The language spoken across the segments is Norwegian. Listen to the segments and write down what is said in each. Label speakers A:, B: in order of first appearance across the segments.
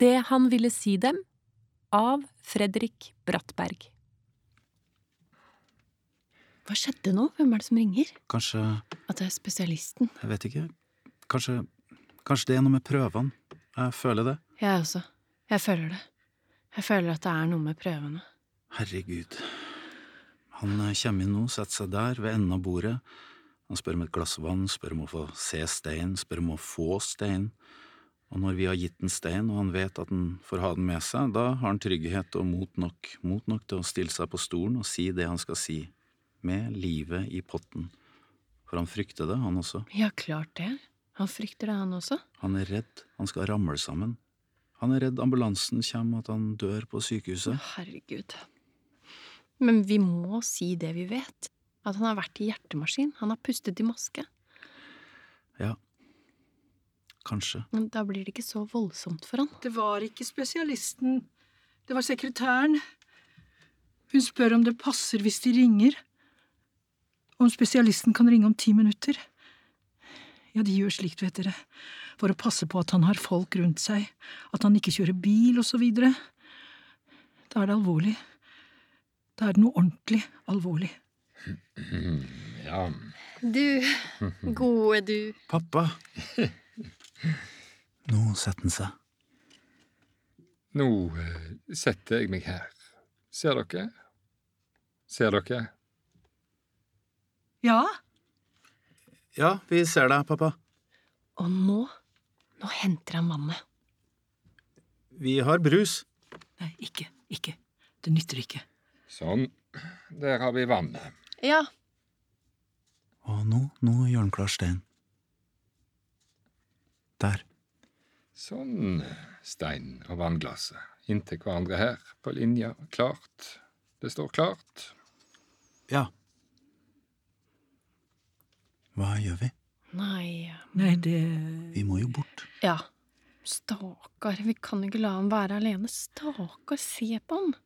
A: Det han ville si dem, av Fredrik Brattberg.
B: Hva skjedde nå? Hvem er det som ringer?
C: Kanskje
B: At det er spesialisten.
C: Jeg vet ikke. Kanskje Kanskje det er noe med prøvene. Jeg føler det.
B: Jeg også. Jeg føler det. Jeg føler at det er noe med prøvene.
C: Herregud. Han eh, kommer inn nå, setter seg der, ved enden av bordet. Han spør om et glass vann, spør om å få se stein, spør om å få stein. Og når vi har gitt en stein, og han vet at han får ha den med seg, da har han trygghet og mot nok, mot nok til å stille seg på stolen og si det han skal si, med livet i potten. For han frykter det, han også.
B: Ja, klart det. Han frykter det, han også.
C: Han er redd han skal ramle sammen. Han er redd ambulansen kommer og at han dør på sykehuset.
B: Herregud. Men vi må si det vi vet. At han har vært i hjertemaskin. Han har pustet i maske.
C: Kanskje.
B: Men da blir det ikke så voldsomt for han.
D: Det var ikke spesialisten. Det var sekretæren. Hun spør om det passer hvis de ringer. Om spesialisten kan ringe om ti minutter. Ja, de gjør slikt, vet dere, for å passe på at han har folk rundt seg, at han ikke kjører bil, og så videre. Da er det alvorlig. Da er det noe ordentlig alvorlig.
E: Ja,
F: Du, gode du.
C: Pappa! Nå setter han seg.
E: nå eh, setter jeg meg her. Ser dere? Ser dere?
D: Ja,
C: Ja, vi ser deg, pappa.
B: Og nå Nå henter han vannet.
C: Vi har brus.
D: nei, ikke, ikke. Det nytter ikke.
E: Sånn. Der har vi vannet.
F: Ja,
C: Og nå, nå gjør han klar stein. Der.
E: Sånn. Stein og vannglasset inntil hverandre her, på linja. Klart. Det står klart.
C: Ja. Hva gjør vi?
B: Nei
D: Nei, det
C: Vi må jo bort.
B: Ja. Stakkar. Vi kan jo ikke la han være alene. Stakkar. Se på han.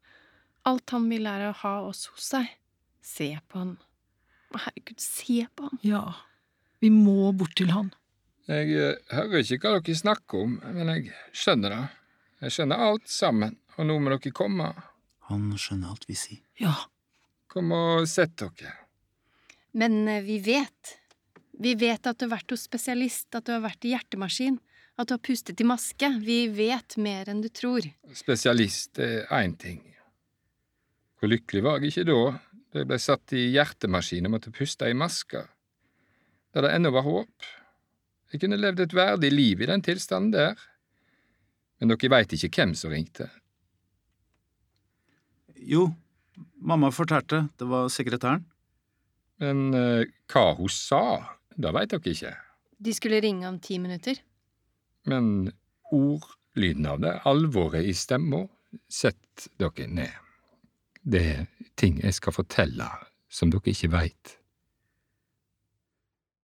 B: Alt han vil, er å ha oss hos seg. Se på han. Herregud, se på han.
D: Ja. Vi må bort til han.
E: Jeg eh, hører ikke hva dere snakker om, men jeg skjønner det. Jeg skjønner alt sammen, og nå må dere komme.
C: Han skjønner alt vi sier.
D: Ja.
E: Kom og sett dere.
F: men eh, vi vet. Vi vet at du har vært hos spesialist, at du har vært i hjertemaskin, at du har pustet i maske. Vi vet mer enn du tror.
E: Spesialist er én ting. Hvor lykkelig var jeg ikke da, da jeg ble satt i hjertemaskin og måtte puste i maske, der det ennå var håp. Jeg kunne levd et verdig liv i den tilstanden der. Men dere veit ikke hvem som ringte.
C: Jo, mamma fortalte. Det var sekretæren.
E: Men eh, hva hun sa, det veit dere ikke.
F: De skulle ringe om ti minutter.
E: Men ordlyden av det, alvoret i stemma, sett dere ned. Det er ting jeg skal fortelle som dere ikke veit.